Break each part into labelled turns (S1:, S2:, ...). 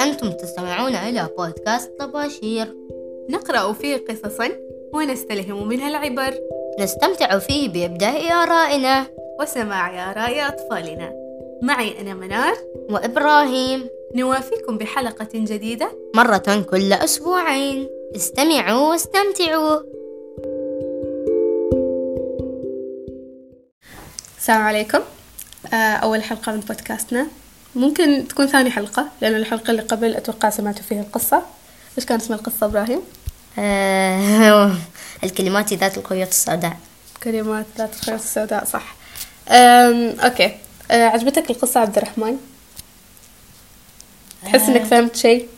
S1: أنتم تستمعون إلى بودكاست طباشير
S2: نقرأ فيه قصصا ونستلهم منها العبر
S1: نستمتع فيه بإبداء آرائنا
S2: وسماع آراء أطفالنا معي أنا منار
S1: وإبراهيم
S2: نوافيكم بحلقة جديدة
S1: مرة كل أسبوعين استمعوا واستمتعوا
S2: السلام عليكم آه، أول حلقة من بودكاستنا ممكن تكون ثاني حلقة لأن الحلقة اللي قبل أتوقع سمعتوا فيها القصة إيش كان اسم القصة إبراهيم؟
S1: آه، الكلمات ذات الخيوط السوداء
S2: كلمات ذات الخيوط السوداء صح أم أوكي أه عجبتك القصة عبد الرحمن؟ تحس إنك فهمت شيء؟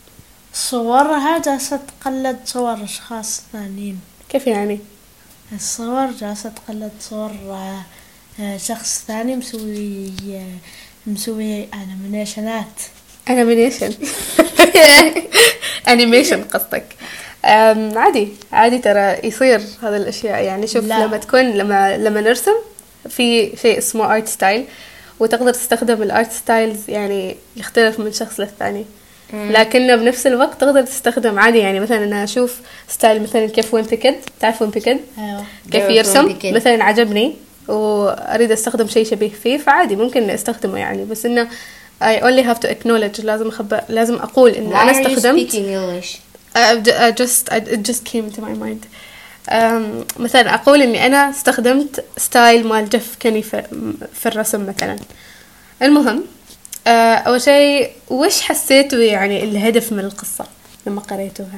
S3: صورها جالسة تقلد صور أشخاص ثانيين
S2: كيف يعني؟
S3: الصور جالسة تقلد صور آه، آه، شخص ثاني مسوي آه، مسوي أنيميشنات
S2: انيميشن انيميشن قصدك أم، عادي عادي ترى يصير هذا الاشياء يعني شوف
S3: لا.
S2: لما تكون لما لما نرسم في شيء اسمه ارت ستايل وتقدر تستخدم الارت ستايلز يعني يختلف من شخص للثاني لكنه بنفس الوقت تقدر تستخدم عادي يعني مثلا انا اشوف ستايل مثلا كيف وين بيكد تعرف وين بيكد
S3: أيوة
S2: كيف
S1: جيرارد
S2: يرسم
S1: وين بيكد.
S2: مثلا عجبني واريد استخدم شيء شبيه فيه فعادي ممكن استخدمه يعني بس انه I only have to acknowledge لازم أخبأ لازم اقول ان انا استخدمت I I just I, it just came to my mind أم، مثلا أقول إني أنا استخدمت ستايل مال جيف كيني في, في الرسم مثلا المهم أه، أول شيء وش حسيتوا يعني الهدف من القصة لما قريتوها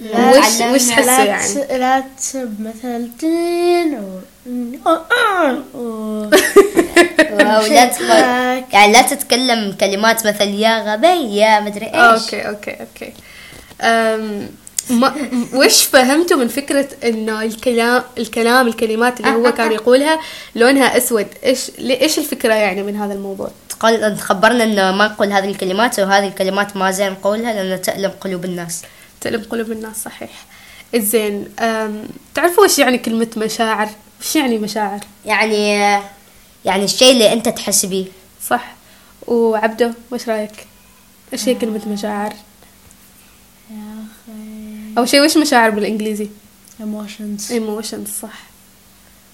S1: لا،
S2: وش
S3: آه،
S1: علمنا.
S2: وش حسوا
S3: لا تس-
S2: يعني
S3: لا تسب مثلا تين و آه، أو- أو- أو-
S1: واو، لا تخ-
S3: شكلك.
S1: يعني لا تتكلم كلمات مثل يا غبي يا مدري ايش
S2: اوكي اوكي اوكي أم، ما وش فهمتوا من فكرة انه الكلام الكلام الكلمات اللي هو كان يقولها لونها اسود ايش ايش الفكرة يعني من هذا الموضوع؟
S1: قال خبرنا انه ما نقول هذه الكلمات وهذه الكلمات ما زين نقولها لانه تألم قلوب الناس
S2: تقلب قلوب الناس صحيح زين أم، تعرفوا وش يعني كلمة مشاعر؟ وش يعني مشاعر؟
S1: يعني يعني الشيء اللي انت تحس بيه
S2: صح وعبده وش رايك؟ ايش هي كلمة مشاعر؟
S3: يا أخي
S2: أول شيء وش مشاعر بالإنجليزي؟ أيوة،
S3: emotions
S2: ايموشنز صح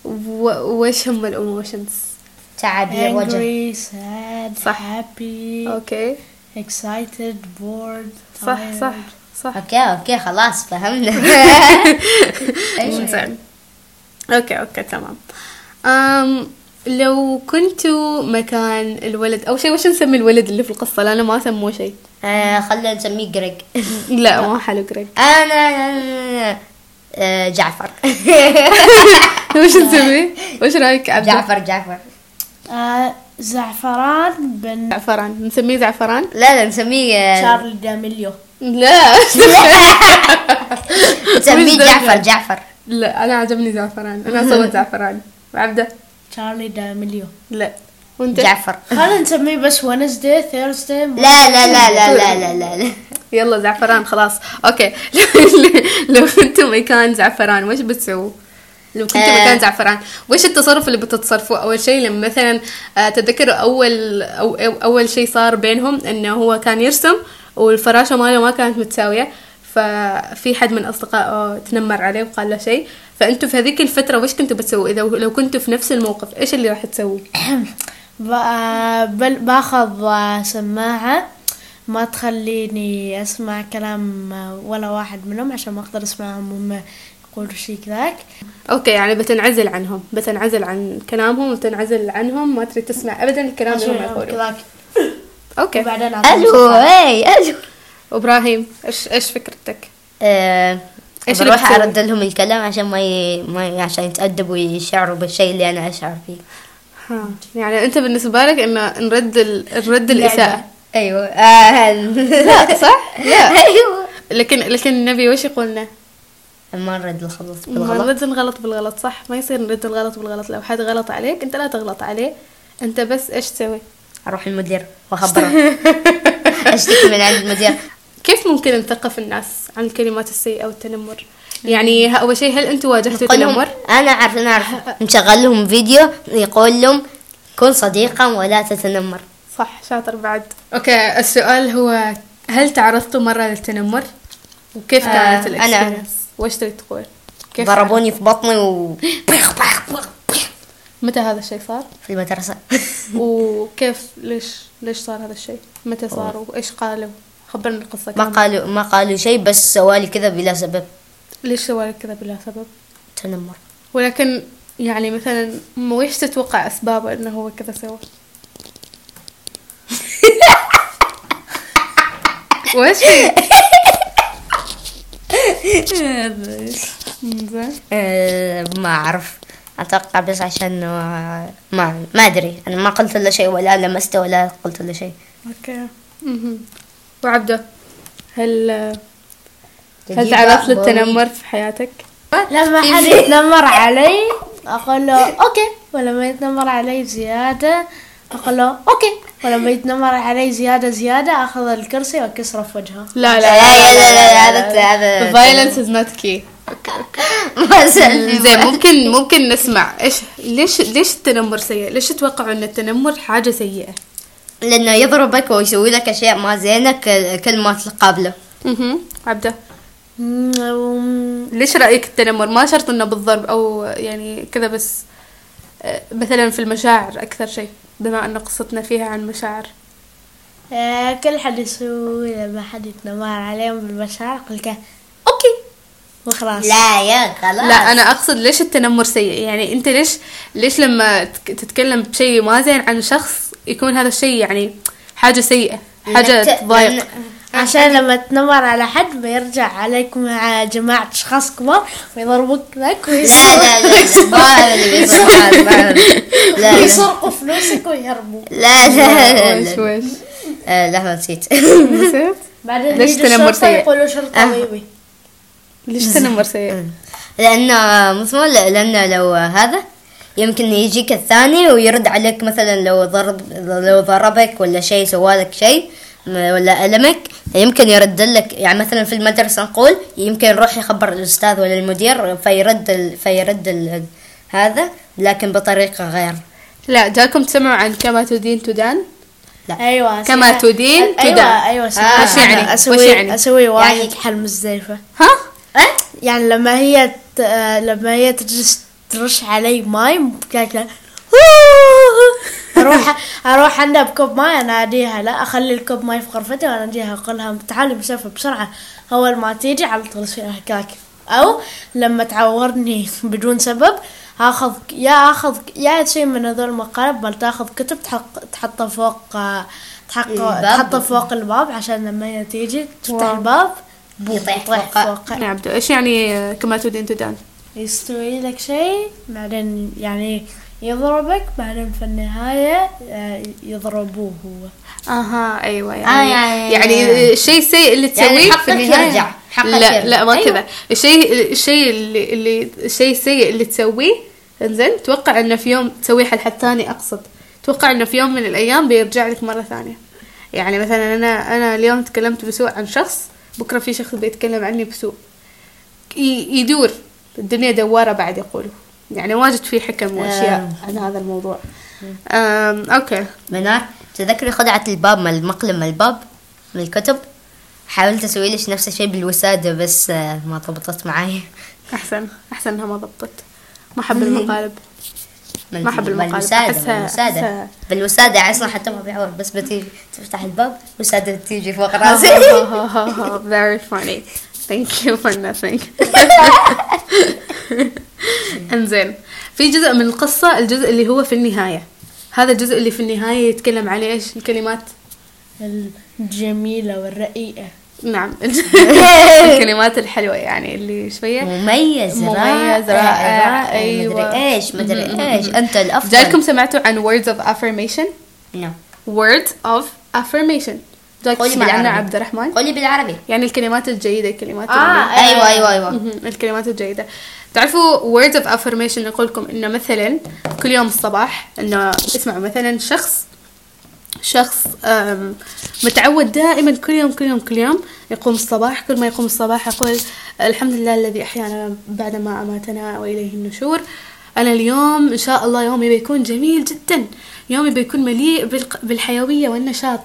S2: و- وش هم الايموشنز؟
S1: تعب يا وجه
S3: angry sad
S2: صح.
S3: happy
S2: اوكي
S3: excited bored
S2: صح صح
S3: tired.
S2: صح
S1: اوكي اوكي خلاص فهمنا
S2: زين اوكي اوكي تمام أم لو كنتوا مكان الولد أول شيء وش نسمي الولد اللي في القصة لأنه ما سموه شيء
S1: آه خلينا نسميه جريج
S2: لا ما حلو جريج
S1: انا آه جعفر
S2: وش نسوي؟ وش رايك عبد
S1: جعفر جعفر
S3: آه زعفران
S2: آه.
S3: بن
S2: زعفران نسميه زعفران
S1: لا لا نسميه آه،
S3: شارل داميليو
S2: لا
S1: نسميه
S2: وش ده؟
S1: جعفر جعفر
S2: لا انا عجبني زعفران انا اصوت زعفران عبده
S3: شارلي داميليو
S2: لا وانت
S1: جعفر
S3: خلينا نسميه بس ونزداي ثيرزداي
S1: لا لا لا لا لا لا لا
S2: يلا زعفران خلاص اوكي لو كنتوا مكان زعفران وش بتسووا؟ لو كنتوا
S1: آه.
S2: مكان زعفران وش التصرف اللي بتتصرفوه اول شيء لما مثلا آه، تتذكروا اول أو أو اول شيء صار بينهم انه هو كان يرسم والفراشه ماله ما كانت متساويه ففي حد من اصدقائه تنمر عليه وقال له شيء فانتوا في هذيك الفتره وش كنتوا بتسووا اذا لو كنتوا في نفس الموقف ايش اللي راح تسووا
S3: ب- بل باخذ سماعة ما تخليني اسمع كلام ولا واحد منهم عشان ما اقدر اسمعهم هم يقولوا شيء كذاك
S2: اوكي يعني بتنعزل عنهم بتنعزل عن كلامهم وتنعزل عنهم ما تريد تسمع ابدا الكلام اللي هم يقولوه
S3: كذاك
S2: اوكي
S3: وبعدين أعطيهم
S1: الو
S3: شوكولاتة.
S1: اي الو
S2: ابراهيم ايش ايش فكرتك؟
S1: آه،
S2: إيش اللي
S1: بروح
S2: بتسوي؟
S1: ارد لهم الكلام عشان ما ي... ما ي... عشان يتأدبوا ويشعروا بالشيء اللي انا اشعر فيه
S2: ها. يعني انت بالنسبه لك انه نرد ال... نرد الاساءه
S1: ايوه آه.
S2: لا صح؟ لا
S1: ايوه
S2: لكن لكن النبي وش يقولنا؟
S1: ما نرد الخلط
S2: ما
S1: بالغلط
S2: نرد الغلط بالغلط صح؟ ما يصير نرد الغلط بالغلط لو حد غلط عليك انت لا تغلط عليه انت بس ايش تسوي؟
S1: اروح المدير واخبره اشتكي من عند المدير
S2: كيف ممكن نثقف الناس عن الكلمات السيئه والتنمر؟ يعني ه- اول شيء هل انتم واجهتوا
S1: نقول لهم
S2: تنمر؟
S1: انا اعرف انا اعرف نشغل لهم فيديو يقول لهم كن صديقا ولا تتنمر
S2: صح شاطر بعد اوكي السؤال هو هل تعرضتوا مرة للتنمر؟ وكيف
S1: آه،
S2: كانت
S1: أنا.
S2: الاكسبيرينس؟ وش تريد تقول؟ كيف
S1: ضربوني في بطني و بخ بخ بخ بخ
S2: متى هذا الشيء صار؟
S1: في المدرسة
S2: وكيف ليش ليش صار هذا الشيء؟ متى صار وايش قالوا؟ خبرنا القصة
S1: ما
S2: كاملة.
S1: قالوا ما قالوا شيء بس سوالي كذا بلا سبب
S2: ليش سوى كذا بلا سبب؟
S1: تنمر
S2: ولكن يعني مثلا م- ويش تتوقع اسبابه انه هو كذا سوى؟ وش في؟ زين.
S1: آه، ما أعرف أتوقع بس عشان آه، ما ما أدري أنا ما قلت له شيء ولا لمسته ولا قلت له شيء
S2: اوكي مهم. وعبده هل هل
S1: جديدة
S2: تعرضت
S1: أخباري.
S2: للتنمر في حياتك؟
S3: لما حد يتنمر علي اقول له اوكي ولما يتنمر علي زياده اقول له اوكي ولما يتنمر علي زياده زياده اخذ الكرسي واكسره في وجهه
S1: لا
S2: لا
S1: لا لا لا هذا هذا
S2: فايلنس از نوت كي
S1: ما زال
S2: زين ممكن ممكن نسمع ايش ليش ليش التنمر سيء؟ ليش تتوقعوا ان التنمر حاجه سيئه؟
S1: لأنه يضربك ويسوي لك أشياء ما زينة ك- كل ما تقابله
S2: اها عبده
S3: أمم،
S2: ليش رايك التنمر ما شرط انه بالضرب او يعني كذا بس آه، مثلا في المشاعر اكثر شيء بما ان قصتنا فيها عن مشاعر
S3: آه، كل حد يسوي لما حد يتنمر عليهم بالمشاعر اقول له اوكي وخلاص
S1: لا يا خلاص
S2: لا انا اقصد ليش التنمر سيء يعني انت ليش ليش لما تك- تتكلم بشيء ما زين عن شخص يكون هذا الشيء يعني حاجه سيئه حاجه
S1: لأنك-
S2: تضايق
S3: عشان لما تنمر على حد ما يرجع عليك مع جماعة أشخاص كبار ويضربوك لك
S1: لا لا لا لا ما هذا اللي بيصير، ما هذا- ما هذا. لا لا.
S3: ويسرقوا فلوسك ويهربوا
S1: لا لا لا
S2: وش
S1: لا
S2: وش
S1: آه، لحظة نسيت
S2: نسيت؟
S3: بعدين
S2: ليش
S3: يجوا
S2: تنمر
S3: الشرطة
S2: سيء؟
S3: يقولوا شرطة
S1: آه.
S3: طبيبي
S2: ليش التنمر سيء
S1: لأن آه، مثلا ل- لأن لو آه، هذا يمكن يجيك الثاني ويرد عليك مثلا لو ضرب لو ضربك ولا شيء سوالك شيء م- ولا ألمك يمكن يرد لك يعني مثلا في المدرسة نقول يمكن يروح يخبر الأستاذ ولا المدير فيرد ال فيرد ال هذا لكن بطريقة غير
S2: لا جاكم تسمعوا عن كما تدين تدان
S3: أيوة
S2: كما
S3: أسوي-
S2: تدين تدان.
S3: أيوة أيوة أسوي-
S1: آه.
S2: وش يعني؟
S3: أسوي
S2: وش يعني؟
S3: أسوي
S1: يعني-
S3: واجد حل مزدلفة
S2: ها
S3: يعني لما هي ت... آه، لما هي تجلس ترش علي ماي كذا اروح اروح عندها بكوب ماي اناديها لا اخلي الكوب ماي في غرفتي واناديها اقول لها تعالي مسافه بسرعه اول ما تيجي على طول فيها كاك او لما تعورني بدون سبب هاخذ يا اخذ يا شيء من هذول المقالب بل تاخذ كتب تحط تحطها فوق آه، تحط
S1: الباب.
S3: تحطها فوق الباب عشان لما هي تيجي تفتح
S2: واو.
S3: الباب
S1: يطيح
S3: يطيح
S1: فوقه.
S3: فوقها
S2: يا عبدو ايش يعني آه، كما تدين تدان
S3: يستوي لك شيء بعدين يعني يضربك بعدين في النهاية آه، يضربوه هو
S2: اها ايوه
S1: آه،
S2: يعني
S1: يعني-
S2: يعني الشيء السيء اللي تسويه
S1: يعني حقك
S2: في النهاية.
S1: يرجع، حقك
S2: لا
S1: يرجع.
S2: لا ما
S1: أيوة.
S2: كذا الشيء الشيء اللي اللي الشيء السيء اللي تسويه انزين توقع انه في يوم تسويه حل حد ثاني اقصد توقع انه في يوم من الايام بيرجع لك مره ثانيه يعني مثلا انا انا اليوم تكلمت بسوء عن شخص بكره في شخص بيتكلم عني بسوء ي- يدور الدنيا دوارة بعد يقولوا يعني واجد في حكم
S1: آه.
S2: واشياء عن هذا الموضوع أم اوكي
S1: منار تذكري خدعة الباب من المقلب من الباب من الكتب حاولت أسوي ليش نفس الشيء بالوسادة بس آه، ما ضبطت معاي
S2: احسن احسن انها ما ضبطت ما احب المقالب
S1: من-
S2: ما أحب
S1: من
S2: المقالب،
S1: الوسادة
S2: أحسها-
S1: من الوسادة
S2: أحسها-
S1: بالوسادة أصلا حتى ما بيعور بس بتيجي تفتح الباب وسادة تيجي فوق
S2: آه،
S1: راسي
S2: very funny thank you for nothing انزين في جزء من القصة الجزء اللي هو في النهاية هذا الجزء اللي في النهاية يتكلم عليه ايش الكلمات
S3: الجميلة والرقيقة
S2: نعم الكلمات الحلوة يعني اللي شوية
S1: مميز
S2: مميز،
S1: رائع
S2: رائع،
S1: رائع،
S2: أيوة.
S1: مدري إيش مدري إيش أنت الأفضل
S2: جايكم سمعتوا عن words of affirmation
S1: نعم.
S2: words of affirmation جايكم
S1: قولي
S2: تسمع
S1: بالعربي.
S2: عنها عبد الرحمن
S1: قولي بالعربي
S2: يعني الكلمات الجيدة الكلمات اللي-
S3: آه،
S1: أيوة أيوة أيوة
S2: مهم. الكلمات الجيدة تعرفوا words of affirmation نقولكم انه مثلا كل يوم الصباح انه اسمعوا مثلا شخص شخص أم، متعود دائما كل يوم كل يوم كل يوم يقوم الصباح كل ما يقوم الصباح يقول الحمد لله الذي احيانا بعد ما اماتنا واليه النشور أنا اليوم إن شاء الله يومي بيكون جميل جدا يومي بيكون مليء بالق- بالحيوية والنشاط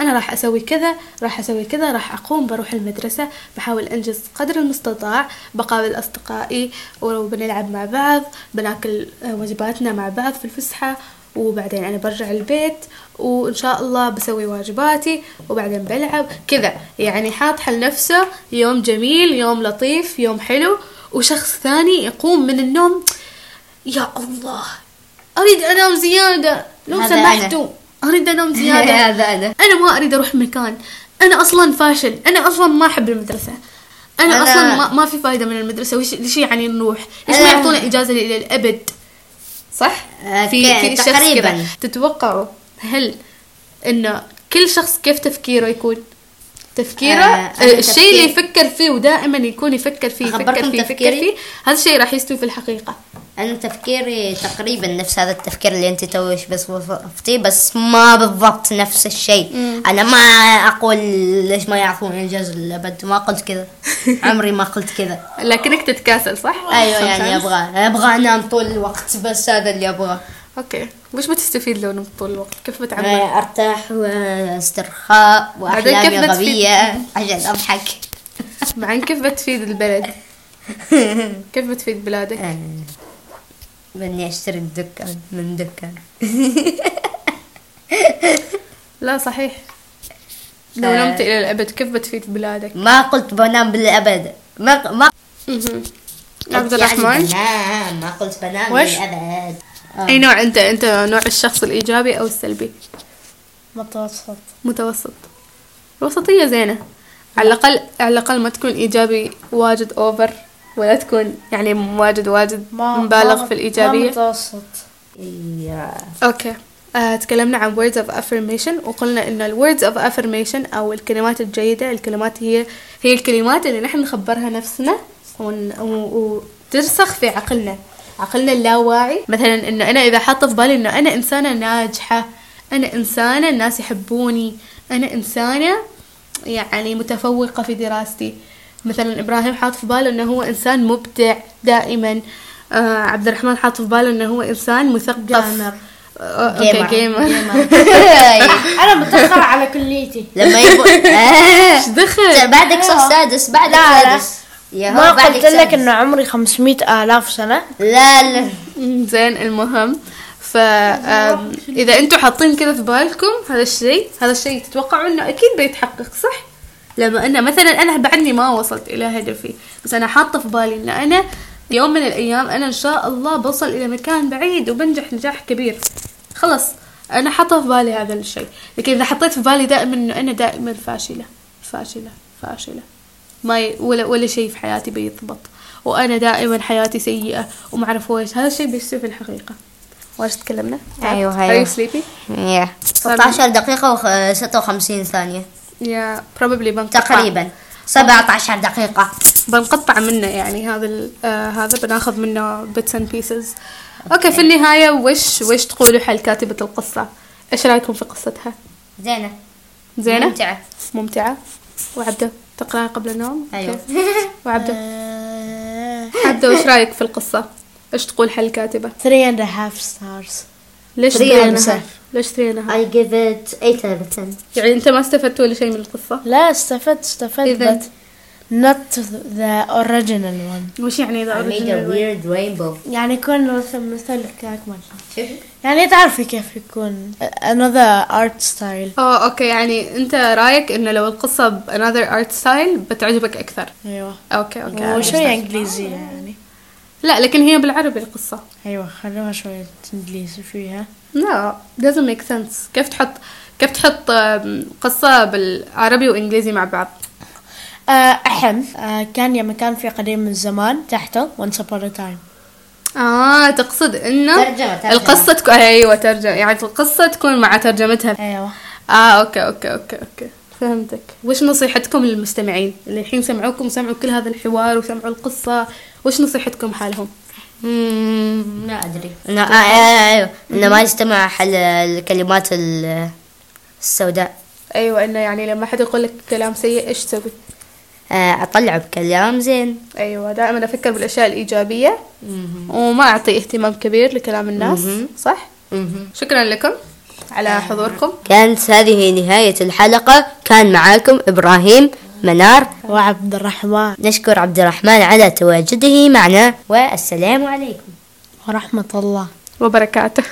S2: أنا راح أسوي كذا راح أسوي كذا راح أقوم بروح المدرسة بحاول أنجز قدر المستطاع بقابل أصدقائي وبنلعب مع بعض بناكل آه، وجباتنا مع بعض في الفسحة وبعدين أنا برجع البيت وإن شاء الله بسوي واجباتي وبعدين بلعب كذا يعني حاطحة لنفسه يوم جميل يوم لطيف يوم حلو وشخص ثاني يقوم من النوم يا الله أريد أنام زيادة لو
S1: هذا أنا.
S2: سمحتوا أريد أنام زيادة
S1: هذا أنا
S2: انا ما اريد اروح مكان انا اصلا فاشل انا اصلا ما احب المدرسه انا,
S1: أنا-
S2: اصلا ما, ما في فايده من المدرسه وش ليش يعني نروح ليش
S1: أنا-
S2: ما يعطونا اجازه الى الابد صح
S1: أوكي،
S2: في في شخص
S1: آه، تقريباً.
S2: كذا تتوقعوا هل ان كل شخص كيف تفكيره يكون تفكيره
S1: آه،
S2: آه
S1: أنا
S2: الشيء اللي
S1: تفكير-
S2: يفكر فيه ودائما يكون يفكر فيه يفكر
S1: أخبركم
S2: فيه يفكر
S1: تفكيري؟
S2: فيه هذا الشيء راح يستوي في الحقيقه
S1: أنا تفكيري تقريبا نفس هذا التفكير اللي أنت توش بس وصفتيه بس ما بالضبط نفس الشيء أنا ما أقول ليش ما يعطوني إنجاز للأبد ما قلت كذا عمري ما قلت كذا
S2: لكنك تتكاسل صح
S1: أيوه يعني
S2: Sometimes.
S1: أبغى أبغى أنام طول الوقت بس هذا اللي أبغاه
S2: اوكي وش بتستفيد لو نمت طول الوقت كيف بتعمل
S1: آه، ارتاح واسترخاء
S2: بعدين كيف
S1: واحلامي
S2: بتفيد؟
S1: غبيه عشان اضحك
S2: معن كيف بتفيد البلد؟ كيف بتفيد بلادك؟
S1: آه، باني اشتري الدكان من دكان
S2: لا صحيح لو
S1: آه.
S2: نمت إلى الأبد كيف بتفيد بلادك؟
S1: ما قلت بنام بالابد ما ما
S2: عبد
S1: قلت يعني
S2: الرحمن
S1: بنام ما قلت بنام
S2: وش؟
S1: بالابد آه.
S2: أي نوع أنت أنت نوع الشخص الإيجابي أو السلبي؟
S3: متوسط
S2: متوسط الوسطية زينة على الأقل على الأقل ما تكون إيجابي واجد أوفر ولا تكون يعني واجد واجد
S3: ما
S2: مبالغ
S3: ما-
S2: في
S3: ما
S2: الإيجابية
S3: متوسط
S2: أيوة.
S1: إيه.
S2: اوكي آه، تكلمنا عن words of affirmation وقلنا ان ال words of affirmation او الكلمات الجيدة الكلمات هي هي الكلمات اللي نحن نخبرها نفسنا ون- و- وترسخ في عقلنا عقلنا اللاواعي مثلا انه انا اذا حاطه في بالي انه انا انسانة ناجحة انا انسانة الناس يحبوني انا انسانة يعني متفوقة في دراستي مثلا إبراهيم حاط في باله إنه هو إنسان مبدع دائما آه عبد الرحمن حاط في باله إنه هو إنسان مثقف
S3: جامر.
S2: آه أوكي
S1: جيمر.
S2: جيمر
S3: انا متاخره على كليتي
S1: لما يبغى آه.
S2: إيش دخل
S1: بعدك صف سادس بعدك
S3: لا، لا.
S1: سادس يا هو
S3: ما
S1: بعدك
S3: قلت لك
S1: سادس.
S3: انه عمري 500 الاف سنه
S1: لا لا
S2: زين المهم فإذا أنتم حاطين كذا في بالكم هذا الشيء هذا الشيء تتوقعوا إنه أكيد بيتحقق صح؟ لما أنا مثلا أنا بعدني ما وصلت إلى هدفي بس أنا حاطة في بالي إن أنا يوم من الأيام أنا إن شاء الله بوصل إلى مكان بعيد وبنجح نجاح كبير خلاص أنا حاطة في بالي هذا الشيء لكن إذا حطيت في بالي دائما إنه أنا دائما فاشلة فاشلة فاشلة ما ي... ولا ولا شيء في حياتي بيضبط وانا دائما حياتي سيئه وما اعرف ويش هذا الشيء بيصير في الحقيقه وايش تكلمنا
S1: أيوه،
S2: are
S1: أيوه.
S2: you sleepy
S1: يا 19 دقيقة و56 ثانية
S2: yeah probably بنقطع
S1: تقريبا 17 دقيقة
S2: بنقطع منه يعني هذا ال- آه هذا بناخذ منه bits and pieces اوكي في النهايه وش وش تقولوا حال كاتبه القصه ايش رايكم في قصتها
S1: زينة
S2: زينه
S1: ممتعة
S2: ممتعه وعبده تقراها قبل النوم أوكي.
S1: أيوه.
S2: وعبده
S3: آه،
S2: عبده وش رايك في القصه ايش تقول حال الكاتبه
S3: 3 and a half stars
S2: ليش
S1: Three
S2: ترينا
S1: and a
S2: هاي؟
S1: half.
S2: ليش ترينا هاي؟
S1: I give it 8 out of 10
S2: يعني انت ما استفدت ولا شيء من القصة
S3: لا استفدت استفدت
S2: إذن.
S3: but not the original one
S2: وش يعني اذا
S1: I made a
S2: original
S1: weird rainbow
S3: يعني يكون مثل مثل كاكمل يعني تعرفي كيف يكون another art style
S2: اه اوكي يعني انت رايك انه لو القصة ب another art style بتعجبك اكثر
S3: ايوه
S2: اوكي اوكي
S3: وشوية انجليزية يعني
S2: لا لكن هي بالعربي القصة
S3: ايوه خلوها شوية انجليزي فيها
S2: لا doesn't make sense كيف تحط كيف تحط آم، قصة بالعربي وانجليزي مع بعض
S3: آه، أحم آه، كان يا مكان في قديم من الزمان تحته once upon a time
S2: اه تقصد انه
S1: ترجمة- ترجمة.
S2: القصة تكون ايوه ترجمة يعني القصة تكون مع ترجمتها
S3: أيوة
S2: اه اوكي اوكي اوكي اوكي فهمتك وش نصيحتكم للمستمعين اللي الحين سمعوكم سمعوا كل هذا الحوار وسمعوا القصة وش نصيحتكم حالهم
S1: ما أدري أنا Hmm. آه، آه، أيوه أنا ما يستمع حل الكلمات ال- السوداء
S2: أيوة، ايوه انه يعني لما حد يقول لك كلام سيء ايش تسوي
S1: آه، أطلعه بكلام زين
S2: ايوه دائما افكر بالاشياء الايجابيه وما اعطي اهتمام كبير لكلام الناس صح آه. شكرا لكم على حضوركم
S1: كانت هذه نهاية الحلقة كان معاكم إبراهيم منار
S3: وعبد الرحمن
S1: نشكر عبد الرحمن على تواجده معنا والسلام عليكم
S3: ورحمة الله
S2: وبركاته